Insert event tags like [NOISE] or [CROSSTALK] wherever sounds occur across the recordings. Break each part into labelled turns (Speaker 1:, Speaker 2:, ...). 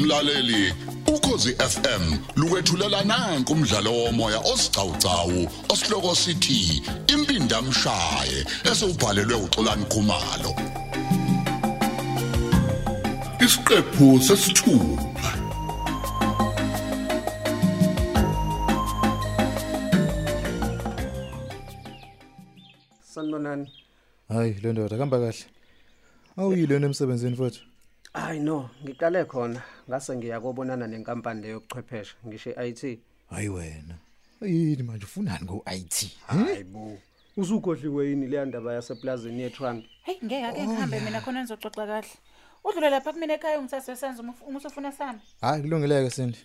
Speaker 1: mlaleli ukhosi FM lukwethulela nanku umdlalo womoya osiqhawqhawo osihloko sithi impinda mshaye esubhalelwe uXolani Khumalo isiqephu sesithupha
Speaker 2: sanibonani
Speaker 3: hayi le ndoda kuhamba kahle awuyilona emsebenzini mfowethu
Speaker 2: hayi no ngiqale khona ngase ngiyakubonana nenkampani leyo yobuchwepheshe ngisho i-IT
Speaker 3: hayi wena yini manje ufunani ngo-it
Speaker 2: hayi bo usugodliwe yini leya ndaba yaseplazini yetrunk
Speaker 4: Hey ngeke ake ngihambe mina khona nizoxoxa kahle. Udlule lapha kumina ekhaya umthathe senze uma usufuna sami.
Speaker 3: hayi kulungileke sindi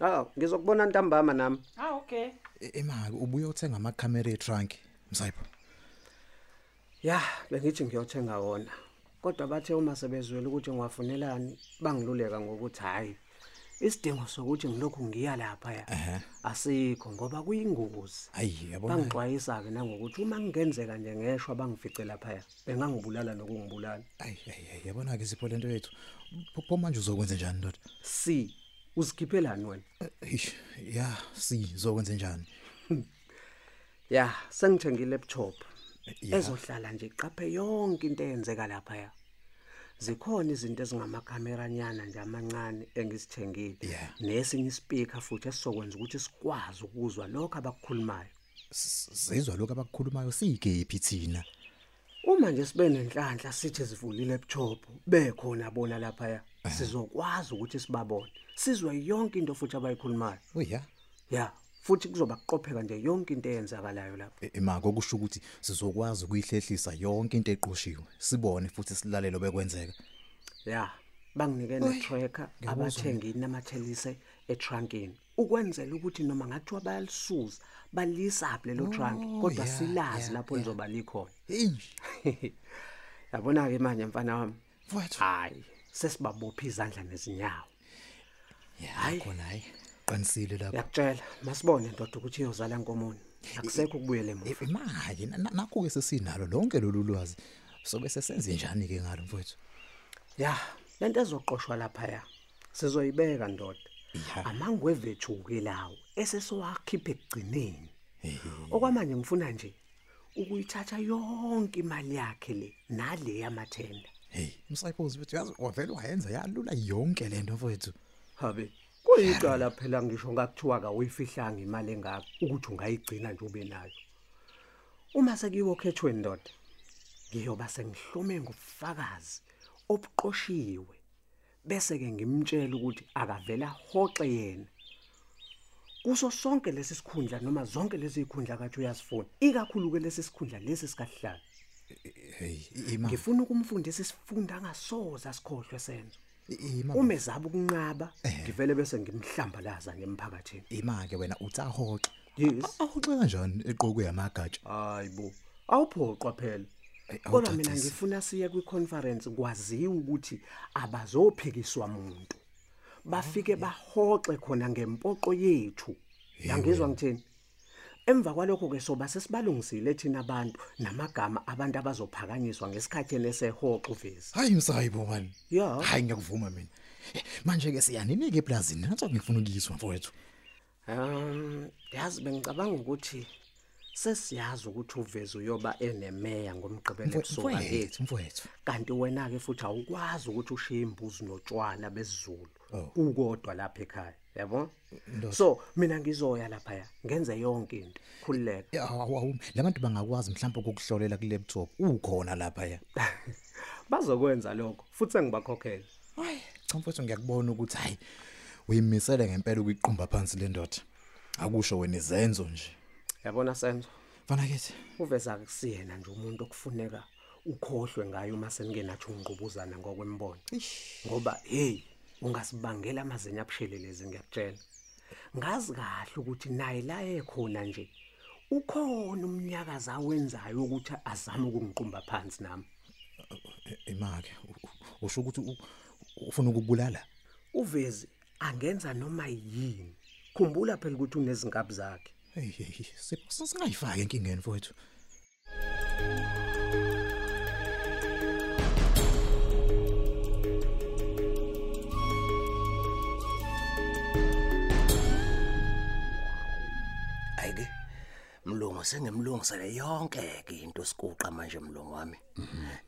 Speaker 2: aw ngizokubona ntambama nami
Speaker 4: Ah okay.
Speaker 3: emaki E, ubuye uthenga amakhamera etrunk msayipho
Speaker 2: ya bengithi ngiyothenga wona kodwa bathe uma sebezwele ukuthi ngiwafunelani bangiluleka ngokuthi hhayi isidingo sokuthi ngilokhu ngiya laphaya asikho ngoba kuyingozi
Speaker 3: hayi yabona
Speaker 2: bangixwayisa-ke nangokuthi uma kungenzeka nje ngeshwa bangifice laphaya bengangibulala nokungibulala
Speaker 3: hayi hayi hayi, yabona ke sipho lento yethu Pho- pho manje uzokwenza njani ndoda
Speaker 2: si uzikhiphelani wena
Speaker 3: Eh, ish, ya si uzokwenza njani
Speaker 2: ya sengithenge i-laptop
Speaker 3: ya.
Speaker 2: ezohlala nje iqaphe yonke into eyenzeka laphaya zikhona izinto ezingamakhameranyana nje amancane engizithengile
Speaker 3: Ya.
Speaker 2: nesinye ispeaker futhi esizokwenza ukuthi sikwazi ukuzwa lokho abakukhulumayo
Speaker 3: S- sizwa lokhu abakukhulumayo siyigephi thina
Speaker 2: uma nje sibe nenhlanhla sithi sivule i-laptop bekhona bona laphaya sizokwazi ukuthi sibabone sizwe yonke into futhi abayikhulumayo
Speaker 3: oya
Speaker 2: ya futhi kuzoba kuqopheka nje yonke into eyenzakalayo lapha
Speaker 3: emaki e, okusho ukuthi sizokwazi ukuyihlehlisa yonke into eqoshiwe sibone futhi silalele obekwenzeka
Speaker 2: ya banginike netracker
Speaker 3: ngiyakuzwa
Speaker 2: abathengi namathelise etrunkini ukwenzela ukuthi noma ngathiwa bayalisuza balisaphi lelo trunk kodwa
Speaker 3: Oh, ya,
Speaker 2: silazi
Speaker 3: ya,
Speaker 2: lapho lizoba likhona [LAUGHS]
Speaker 3: eyi
Speaker 2: yabona-ke manje mfana wami
Speaker 3: mfowethu
Speaker 2: hhayi sesibabophe izandla nezinyawo
Speaker 3: hayi khona hayi qinisile lapho
Speaker 2: uyakutshela masibone ndoda ukuthi iyozala nkomoni akusekho ukubuyela
Speaker 3: Eh,
Speaker 2: emuva
Speaker 3: imali nakho ke sesinalo lonke lolu lwazi sobe sesenze njani ke ngalo mfowethu
Speaker 2: ya lento ezoqoshwa laphaya sizoyibeka ndoda
Speaker 3: Ya.
Speaker 2: amangwevethuke lawo esesowakhipha ekugcineni okwamanje ngifuna nje ukuyithatha yonke imali yakhe le nale yamathenda
Speaker 3: hey umsayiphozi wethu yazi wavele wayenza yalula yonke lento mfowethu
Speaker 2: habe kuyicala phela ngisho ngakuthiwa kawuyifihlanga imali engako ukuthi ungayigcina nje ube nayo uma sekuyiwo khethweni ndoda ngiyoba sengihlume ngobufakazi obuqoshiwe bese-ke ngimtshela ukuthi akavela hoxe yena kuso sonke lesi sikhundla noma zonke lezi y'khundla kathi uyasifuna ikakhulu-ke lesi sikhundla lesi sikasihlalo
Speaker 3: hey imali
Speaker 2: ngifuna ukumfundisa isifundo angasoze asikhohlwe senzo
Speaker 3: imali
Speaker 2: uma ezaba ukunqaba ngivele bese ngimhlambalaza nje emphakathini
Speaker 3: imali wena utsahoxa
Speaker 2: yes
Speaker 3: ahoxe kanjani eqokwe yamagatsha
Speaker 2: hayi bo awuphoqwa phela
Speaker 3: Ayi,
Speaker 2: kodwa mina
Speaker 3: awucacisi.
Speaker 2: ngifuna siye kwiconference kwaziwe ukuthi abazophikiswa muntu bafike bahoxe khona ngempoqo yethu yangizwa ngithini emva kwalokho-ke soba sesibalungisile thina abantu namagama abantu abazophakanyiswa ngesikhathini esehoxo uvezi
Speaker 3: hayi msayibo mani
Speaker 2: Ya.
Speaker 3: hayi ngiyakuvuma mina Eh, manje ke siyaninike eplazini nanso ngifuna ukuyiswa mfowethu
Speaker 2: Um yazi bengicabanga ukuthi sesiyazi ukuthi uveze uyoba enemeya ngomgqibelo ebusuku ngethu
Speaker 3: mfowethu mfowethu
Speaker 2: kanti wena ke futhi awukwazi ukuthi ushiye imbuzi notshwala besizulu
Speaker 3: Oh.
Speaker 2: ukodwa lapha ekhaya yabo so mina ngizoya lapha ya ngenze yonke into khulileka
Speaker 3: Ya, awu, awu, labantu bangakwazi mhlawumbe ukukuhlolela ku laptop ukhona lapha ya
Speaker 2: [LAUGHS] bazokwenza lokho futhi engibakhokhela
Speaker 3: cha mfowethu ngiyakubona ukuthi hayi uyimisele ngempela ukuyiqumba phansi le ndoda akusho wena izenzo nje
Speaker 2: yabona senzo
Speaker 3: mfana kithi
Speaker 2: uveza ke kusiyena nje umuntu okufuneka ukhohlwe ngayo uma senikenathi ungqubuzana ngokwembono ngoba hey ungasibangela amazinyo abushelelezi ngiyakutshela ngazi kahle ukuthi naye la ekhona nje ukhona umnyakazi awenzayo ukuthi azame ukungiqumba phansi nami
Speaker 3: imake usho ukuthi E, u- u- ufuna ukubulala
Speaker 2: uvezi angenza noma yini khumbula phela ukuthi unezinkabi zakhe
Speaker 3: hey hey, hey, sipho singayifaki enkingeni mfowethu
Speaker 2: Sengimlungisele yonke ke into sikuqa manje mlungu wami.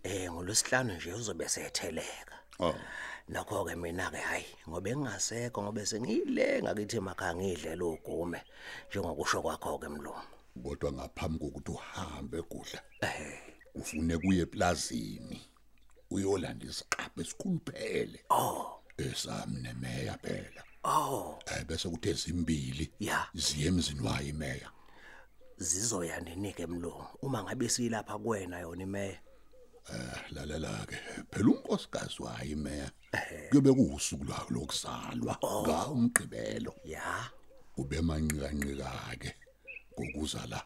Speaker 2: Eh ngolwesihlanu nje uzobe setheleka.
Speaker 1: Oh.
Speaker 2: Nakho ke mina ke hayi ngobe ngingasekho ngobe sengiyilenga kithi emakhaya ngidlela ugume njengokusho kwakho ke mlungu.
Speaker 1: Kodwa ngaphambi kokuthi uhambe kudla. Ufune kuye eplazini. Uyolanda isiqaphe esikhuluphele.
Speaker 2: Oh.
Speaker 1: Esami nemeya phela.
Speaker 2: Oh
Speaker 1: Eh bese kuthe zimbili
Speaker 2: ya
Speaker 1: ziye emzini wayo imeya.
Speaker 2: zizoya nini ke mlungu uma ngabe silapha kuwena yona imeya.
Speaker 1: lalela ke phela unkosikazi wayo imeya kuyobe kuwusuku lwayo lokuzalwa ngawo umgqibelo
Speaker 2: Ya.
Speaker 1: ube manqikanqika ke ngokuza la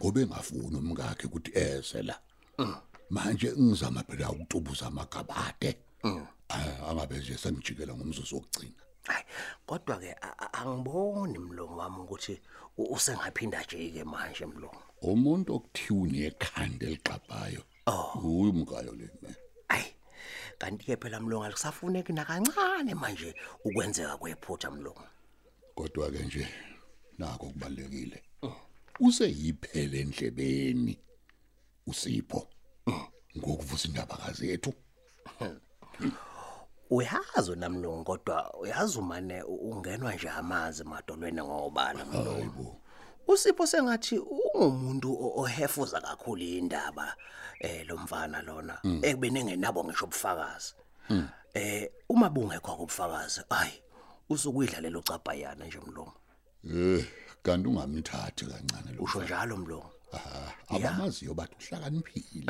Speaker 1: ngobe ngafuna umkakhe ukuthi eze la manje ngizama phela ukutubuza amagabade Ah, angabe nje sengijikela ngomzuzu wokugcina
Speaker 2: Hayi kodwa ke a- a- angiboni mlungu wami ukuthi u- usengaphinda nje ke manje mlungu.
Speaker 1: umuntu okuthiwa unekhanda eliqabhayo uyu umkayo le man.
Speaker 2: Ayi. Kanti ke phela mlungu akusafuneki nakancane manje ukwenzeka kwephutha mlungu.
Speaker 1: kodwa ke nje nako kubalekile useyiphele endlebeni usipho ngokuvusa indaba kazethu
Speaker 2: Uyazi namlungu kodwa uyazi umane u- ungenwa nje amazi madolweni ngobala mlungu.
Speaker 1: hayibo
Speaker 2: Usipho sengathi ungumuntu o- ohefuza kakhulu indaba eh lomfana lona ekubeni engenabo ngisho ubufakazi. Eh uma bungekho kubufakazi ayi usukuyidlalela ucabhayana nje mlungu.
Speaker 1: eh kanti ungamthathi kancane lo
Speaker 2: Usho njalo mlungu.
Speaker 1: Ah, abamaziyo bathi uhlakaniphile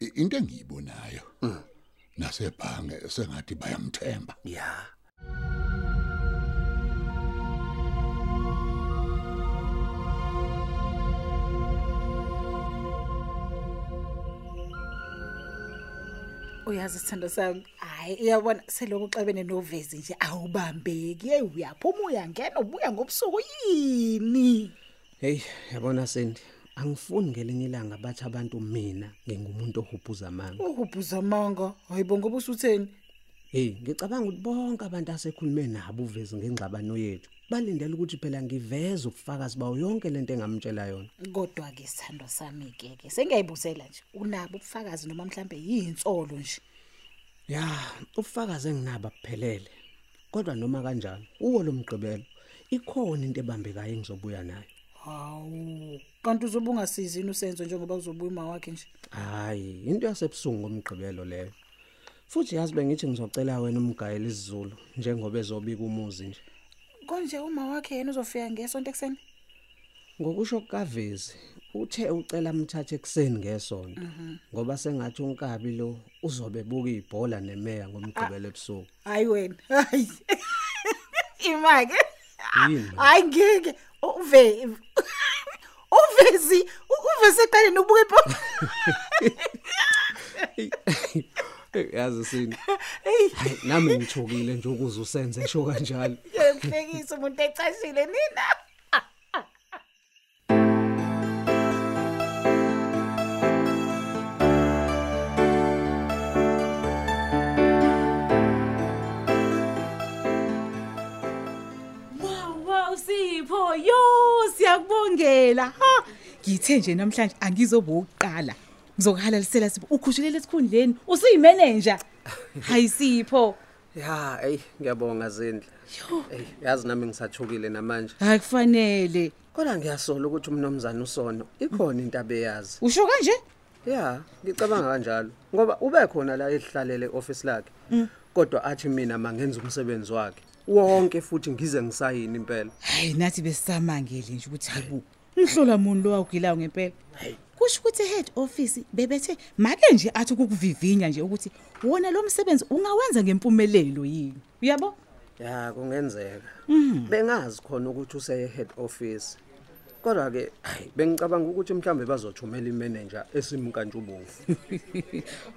Speaker 1: I- into engiyibonayo nasebhange sengathi bayamthemba
Speaker 2: Yeah.
Speaker 4: uyazi sithando sami hayi uyabona selokhu xabene novezi nje awubambeki yeyi uyaphuma uyangena ubuya ngobusuku yini
Speaker 5: Hey, yabona Sendi, angifuni ngelinye ilanga bathi abantu mina ngingumuntu ohubhuza manga.
Speaker 4: uhubhuza amanga hayi bo Oh, ngoba usutheni
Speaker 5: Hey, ngicabanga ukuthi bonke abantu asekhulume nabo uveze ngengxabano yethu. Balindele ukuthi phela ngiveze ubufakazi bawo yonke lento engamtshela yona.
Speaker 4: kodwa-ke sithando sami ke-ke sengiyayibuzela nje unabo ubufakazi noma mhlambe yiyinsolo nje
Speaker 5: Ya, ubufakazi enginabo abuphelele. Kodwa noma kanjalo, uwo lomgqibelo ikhona into ebambekayo engizobuya nayo.
Speaker 4: hawu kanti uzobe ungasizini usenzo njengoba uzobuya uma wakhe nje
Speaker 5: Hayi, into yasebusungu ngomgqibelo leyo. Futhi yazi bengithi ngizocela wena umgayeli isiZulu njengoba ezobika umuzi nje.
Speaker 4: konje uma wakhe yena uzofika ngesonto ekuseni
Speaker 5: Ngokusho kukavezi, uthe ucela umthathe ekseni ngesonto ngoba sengathi unkabi lo uzobe buka ibhola nemeya ngomgqibelo ebusuku.
Speaker 4: hayi wena [LAUGHS] hayi imake
Speaker 5: Yini?
Speaker 4: hayi ngeke U- uve uvezi u- uvezi eqaleni ubuka ibhola
Speaker 5: Eh, Yazi sini.
Speaker 4: eyi
Speaker 5: Hayi nami ngithukile nje ukuze usenze sho kanjalo.
Speaker 4: uyakuhlekisa umuntu ecashile nina
Speaker 6: Wow wow Sipho yo siyakubongela ha ngithe nje namhlanje angizobuqala ngizokuhalalisela Sipho ukhushulele esikhundleni usuyimanager hayi Sipho
Speaker 5: Ya, hey ngiyabonga Zindla. Hey yazi nami ngisathukile namanje.
Speaker 6: akufanele
Speaker 5: Kodwa ngiyasola ukuthi umnomzana uSono ikhona into abeyazi.
Speaker 6: usho kanje
Speaker 5: Ya, ngicabanga kanjalo ngoba ube khona la ehlalele office lakhe. Kodwa athi mina mangenza umsebenzi wakhe. Wonke futhi ngize ngisayini impela.
Speaker 6: hayi nathi besamangele nje ukuthi hayibo umhlola muntu lo wagilayo ngempela kusho ukuthi head office bebethe make nje athi ukukuvivinya nje ukuthi wona lo msebenzi ungawenza ngempumelelo yini uyabo [LAUGHS]
Speaker 5: Ya, kungenzeka. Bengazi khona ukuthi useye head office. Kodwa ke hayi bengicabanga ukuthi mhlambe bazothumela imanager esimkantshubovu.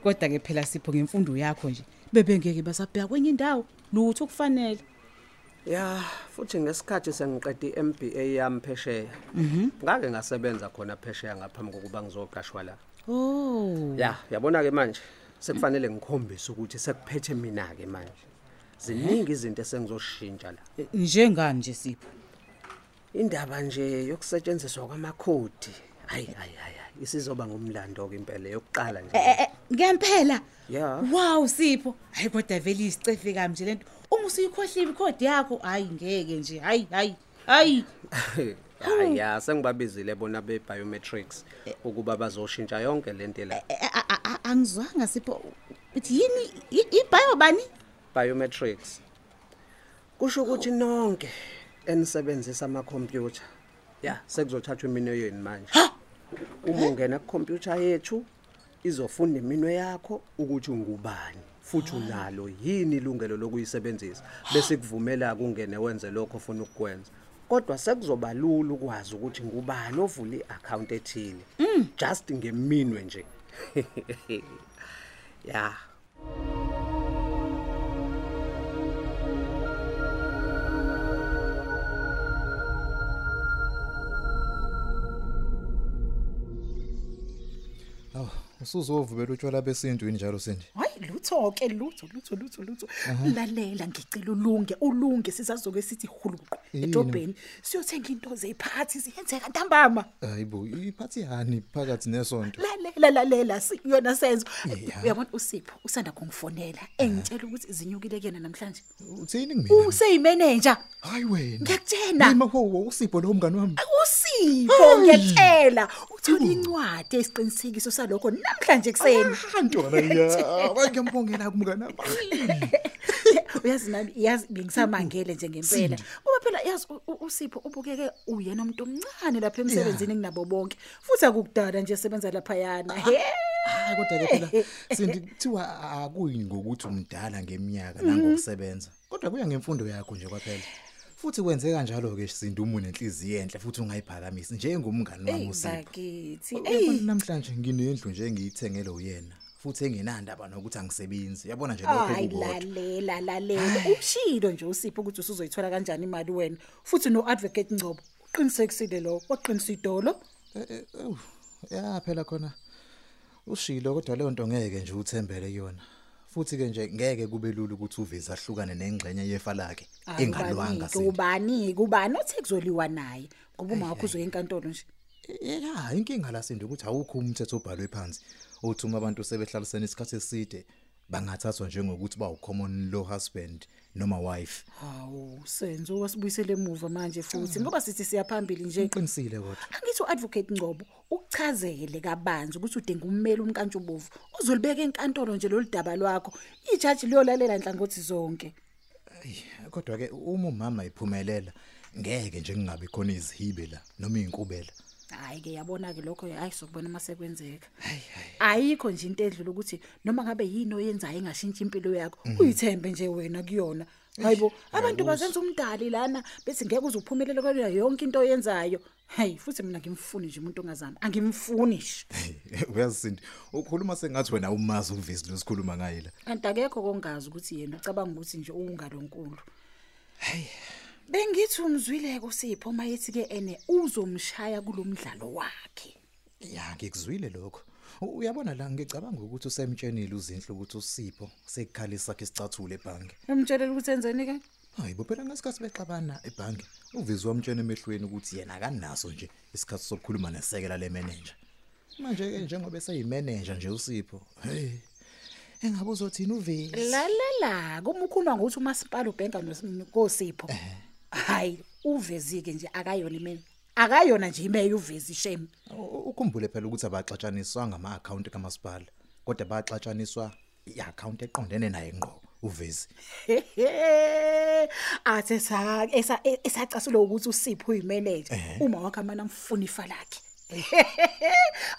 Speaker 6: kodwa ke phela sipho ngemfundo yakho nje bebengeke basabheka kwenye indawo lutho ukufanele
Speaker 5: Ya, futhi ngesikhathi sengiqede iMBA yami phesheya. Ngake ngasebenza khona phesheya ngaphambi kokuba ngizoqashwa la.
Speaker 6: oh
Speaker 5: Ya, yabona ke manje sekufanele ngikhombise ukuthi sekuphethe mina ke manje. Ziningi izinto esengizoshintsha la.
Speaker 6: njengani nje sipho
Speaker 5: indaba nje yokusetshenziswa kwamakhodi hayi hayi hayi hayi, isizoba ngumlando ke impela yokuqala nje
Speaker 6: Eh, eh, ngempela
Speaker 5: Yeah.
Speaker 6: wow sipho hayi kodwa vele isicefe kami nje lento uma usuyikhohliwe ikhodi yakho hayi ngeke nje hayi hayi hayi
Speaker 5: hayi ya sengibabizile bona be-biometrics ukuba bazoshintsha yonke le nto la
Speaker 6: Eh, a- a- a- angizwanga sipho uthi yini i- ibhayo bani
Speaker 5: biometrics kusho ukuthi nonke enisebenzisa amakhompyutha ya sekuzothathwa iminwe yenu manje uma ungena kukhompyutha yethu izofunda iminwe yakho ukuthi ungubani futhi unalo yini ilungelo lokuyisebenzisa bese kuvumela kungene wenze lokho ofuna ukukwenza kodwa sekuzoba lula ukwazi ukuthi ngubani ovula i-akhawunti ethile just ngeminwe nje [LAUGHS] ya
Speaker 3: aw usuzovubela utshwala besintu yini njalo sindi
Speaker 4: hayi lutho ke lutho lutho lutho lutho lalela ngicela ulunge ulunge sisazoke sithi huluqu
Speaker 3: Yini?
Speaker 4: edobheni siyothenga into zephathi ziyenzeka ntambama
Speaker 3: hayibo iphathi yani phakathi nesonto
Speaker 4: lalela lalela siyona senzo
Speaker 3: Yeah.
Speaker 4: uyabona usipho usanda kungifonela engitshela ukuthi zinyukile kuyena namhlanje
Speaker 3: uthini kumina
Speaker 4: useyimeneja
Speaker 3: hayi wena
Speaker 4: Ngiyakutshena.
Speaker 3: Yima, wo wo, usipho lo mngani wami
Speaker 4: usipho ngiyakutshela uthole incwadi esiqinisekiso salokho namhlanje ekuseni
Speaker 3: [LAUGHS] antwana ya ngiyambongela kumngani wami
Speaker 4: uyazi nami yazi bengisamangele nje ngempela ngoba phela yazi u- u- usipho ubukeke uyena umuntu omncane lapha emsebenzini kunabo bonke futhi akukudala nje esebenza laphayana
Speaker 3: Ah,
Speaker 4: he
Speaker 3: hayi kodwa ke phela sindi kuthiwa akuyi ngokuthi umdala ngeminyaka nangokusebenza kodwa kuya ngemfundo yakho nje kwaphela futhi kwenze kanjalo ke sindi uma unenhliziyo enhle futhi ungayiphakamisi njengomngani wami usipho
Speaker 4: bakithi
Speaker 3: Uyabona namhlanje nginendlu nje engiyithengele uyena futhi engenandaba nokuthi angisebenzi yabona nje lokho
Speaker 4: hayi
Speaker 3: kukodwa
Speaker 4: lalela lalela umshilo nje usipho ukuthi usuzoyithola kanjani imali wena futhi no-advocate ngcobo uqinisekisile lo waqinisa idolo
Speaker 3: Eh, eh, ewu, ya phela khona ushilo kodwa leyo nto ngeke nje uthembele kuyona futhi ke nje ngeke kube lula ukuthi uveze ahlukane nengxenye yefa lakhe
Speaker 4: Hayi,
Speaker 3: engalwanga
Speaker 4: ubani-ke, ubani-ke ubani othe kuzoliwa naye ngoba uma wakho uzoya enkantolo nje
Speaker 3: Eh, ya inkinga la sindo ukuthi awukho umthetho obhalwe phansi othuma abantu sebehlalisene isikhathi eside bangathathwa njengokuthi bawu common law husband noma wife
Speaker 4: hawu senzo wasibuyisele emuva manje futhi
Speaker 3: Mm.
Speaker 4: ngoba sithi siyaphambili nje
Speaker 3: uqinisile kodwa
Speaker 4: angithi u-advocate ngcobo ukuchazele kabanzi ukuthi udinga ummeli umkantshubovu uzolibeka enkantolo nje lolu daba lwakho ijaji liyolalela nhlangothi zonke
Speaker 3: kodwa ke uma umama iphumelela ngeke nje kungabi khona izihibe la noma izinkubela
Speaker 4: hhayi-ke yabona-ke lokho hhayi sokubona uma sekwenzeka ayikho nje into edlula ukuthi noma ngabe yini oyenzayo engashintshi impilo yakho uyithembe nje wena kuyona hayibo abantu bazenza umdali lana bethi ngeke uze uphumelele kwena yonke into oyenzayo hayi futhi mina ngimfuni nje umuntu ongazami angimfuni nje
Speaker 3: [LAUGHS] uyazi Sindi ukhuluma sengathi wena umazi uvisi losikhuluma ngaye la
Speaker 4: kanti akekho kongazi ukuthi yena ucabanga ukuthi nje ungalonkulu bengithi umzwileke usipho uma yethi-ke ene uzomshaya kulo mdlalo wakhe
Speaker 3: ya ngikuzwile lokho U- uyabona la ngicabanga ukuthi usemtshenile uzinhle ukuthi usipho sekukhali sakhe isicathulo ebhange
Speaker 4: emtshelela ukuthi enzeni-ke
Speaker 3: hayibo phela ngesikhathi bexabana ebhange uvisi wamtshena emehlweni ukuthi yena akanaso nje isikhathi sokukhuluma nesekela lemeneja manje-ke njengoba eseyimeneja nje usipho hey engabe uzothini uvisi
Speaker 4: lalela-ke uma ukhuluma ngokuthi umasipala ubhenka nos- kosipho hhayi uvezi-ke nje akayona imele akayona nje imeya uvezi shame
Speaker 3: U- ukhumbule phela ukuthi abaxatshaniswanga ama-akhawunti kamasipala kodwa baxatshaniswa i-akhawunti eqondene naye ngqo uvezi
Speaker 4: hehe [LAUGHS] athi esa- esa- e- esacasulwa ukuthi usipho uyimeneja uma wakhe amane amfuna ifa lakhe [LAUGHS]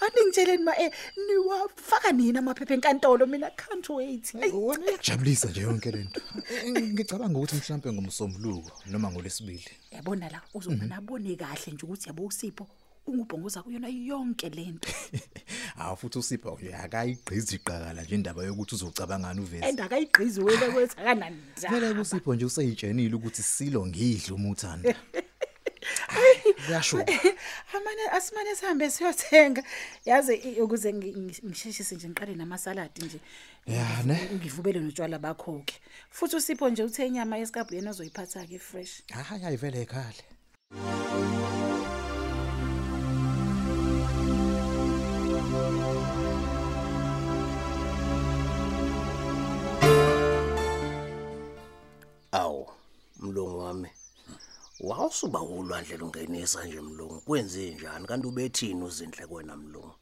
Speaker 4: aningitsheleni ma eh, niwafaka nini amaphepha enkantolo mina can't wait Eyi,
Speaker 3: wona iyajabulisa nje yonke lento Eh, ngicabanga ukuthi mhlawumbe ngomsombuluko noma ngolesibili
Speaker 4: yabona la uzongana abone kahle nje ukuthi yabo usipho ungubhongoza kuyona yonke le nto
Speaker 3: hawu futhi usipho nje akayigqizi iqakala nje indaba yokuthi uzocabangani uvezi
Speaker 4: and akayigqizi wena kwethu
Speaker 3: kumele
Speaker 4: akanandaba
Speaker 3: kusipho nje useyitshenile ukuthi silo ngidle uma uthanda kuyasho
Speaker 4: [LAUGHS] amane asimane sihambe siyothenga yazi i- ukuze ngi- ngi- ngisheshise nje ngiqale namasaladi nje
Speaker 3: Ya, ne.
Speaker 4: ngivubele notshwala bakho-ke futhi usipho nje uthe inyama yesikabhu yena ozoyiphatha-ke fresh
Speaker 3: hayi ayivele ekhale
Speaker 2: Awu, mlungu wami. Wawusuba ulwandle lungenisa nje mlungu. Kwenze njani kanti ubethini uzinhle kwena mlungu?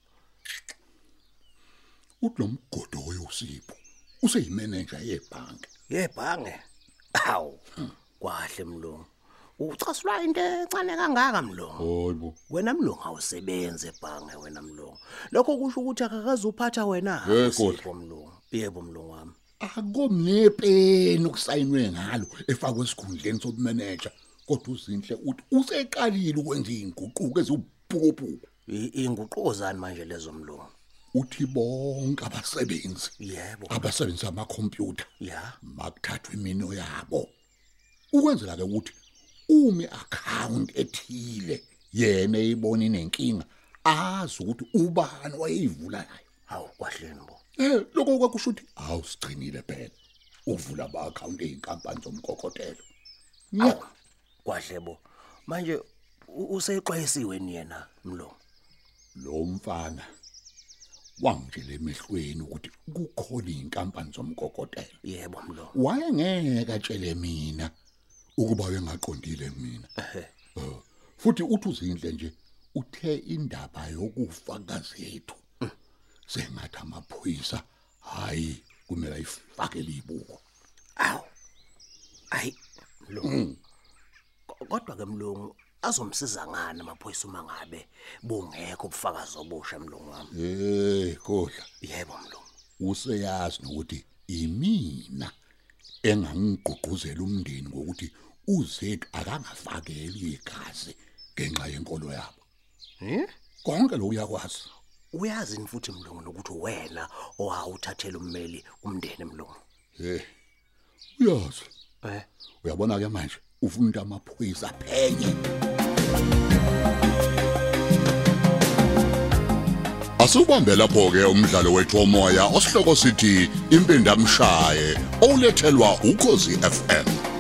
Speaker 1: uthi lo mgodo oyosipho useyimanager yebhanki
Speaker 2: Yebhange. Awu. Kwahle mlungu. Ucasulwa into encane kangaka mlungu.
Speaker 1: hoyibo
Speaker 2: Wena mlungu awusebenze ebhange wena mlungu. Lokho kusho ukuthi akakazuphatha wena
Speaker 1: Eh,
Speaker 2: uSipho mlungu. Yebo mlungu wami.
Speaker 1: akomnepeni ukusayinwe ngalo efakwe esikhundleni sobumanager kodwa uzinhle uthi useqalile ukwenza izinguquko ezibuphukuphuku
Speaker 2: I- Inguquko zani manje lezo mlungu?
Speaker 1: uthi bonke abasebenzi
Speaker 2: Yebo.
Speaker 1: abasebenzisa amakhompyutha
Speaker 2: Ya.
Speaker 1: makuthathwe imino yabo ukwenzela ke ukuthi umi account ethile yena eyibona inenkinga azi ukuthi ubani wayeyivula nayo
Speaker 2: Hawu kwahleni bo.
Speaker 1: eh lokho kwakusho ukuthi awusigcinile phela uvula ama account ezinkampani zomkokotelo
Speaker 2: Awu. Kwahle bo. Manje u- usexwayisiwe ni yena mlungu.
Speaker 1: lo mfana wangitshela emehlweni ukuthi kukhona izinkampani zomkokotelo
Speaker 2: Yebo mlungu.
Speaker 1: wayengeke atshele mina ukuba uyengaqondile mina Eh, futhi uthi uzinhle nje uthe indaba yokufa kazethu sengathi amaphoyisa hayi kumele ayifake libuko
Speaker 2: Awu. Ayi mlungu. Ko- Kodwa ke mlungu azomsiza ngani amaphoyisa uma ngabe bungekho ubufakazi obusha mlungu wami?
Speaker 1: hey kodla
Speaker 2: Yebo mlungu.
Speaker 1: useyazi nokuthi imina engangigqugquzela umndeni ngokuthi uzethu akangafakeli igazi ngenxa yenkolo yabo
Speaker 2: Eh?
Speaker 1: konke lo uyakwazi
Speaker 2: Uyazi ni futhi mlungu nokuthi wena owawuthathela ummeli umndeni mlungu.
Speaker 1: hey uyazi
Speaker 2: Eh.
Speaker 1: uyabona ke manje ufuna ukuthi amaphoyisa aphenye Asubambe lapho ke umdlalo wethu omoya osihloko sithi impindamshaye olethelwa ukozi FM